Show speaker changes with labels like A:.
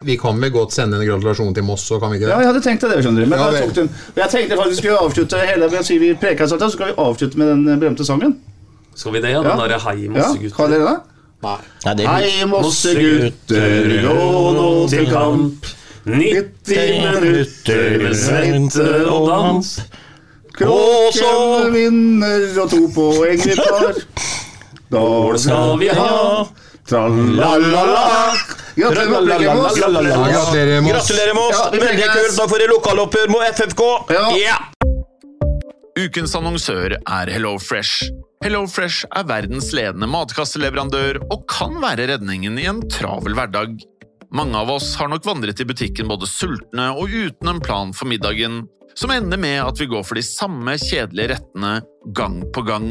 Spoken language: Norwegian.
A: Vi kan vel godt sende en gratulasjon til Moss, så kan vi ikke
B: Ja,
A: det?
B: jeg hadde tenkt det, skjønner du. Men
A: Ja,
B: da
A: vel.
B: tok den. Og jeg tenkte faktisk vi skulle avslutte hele med å si vi preker oss alt, og så skal vi avslutte med den eh, berømte sangen.
C: Skal vi det, ja? Den derre hei,
B: Ja, har
C: mossegutter.
B: dere det?
D: Nei, det er
B: Hei, mossegutter, gå nå til kamp. 90 minutter med svette og dans. Kråken vinner, og to poeng vi tar. Da
C: Skal vi ha
B: Tralala. Gratulerer med oss.
A: Gratulerer, Moss.
D: Gratulerer med oss!
B: Ja, vi
D: Veldig
B: tenker-
D: kult! Da får dere lokaloppgjør mot FFK!
B: Ja.
E: Ukens annonsør er HelloFresh. HelloFresh er verdens ledende matkasseleverandør og kan være redningen i en travel hverdag. Mange av oss har nok vandret i butikken både sultne og uten en plan for middagen, som ender med at vi går for de samme kjedelige rettene gang på gang.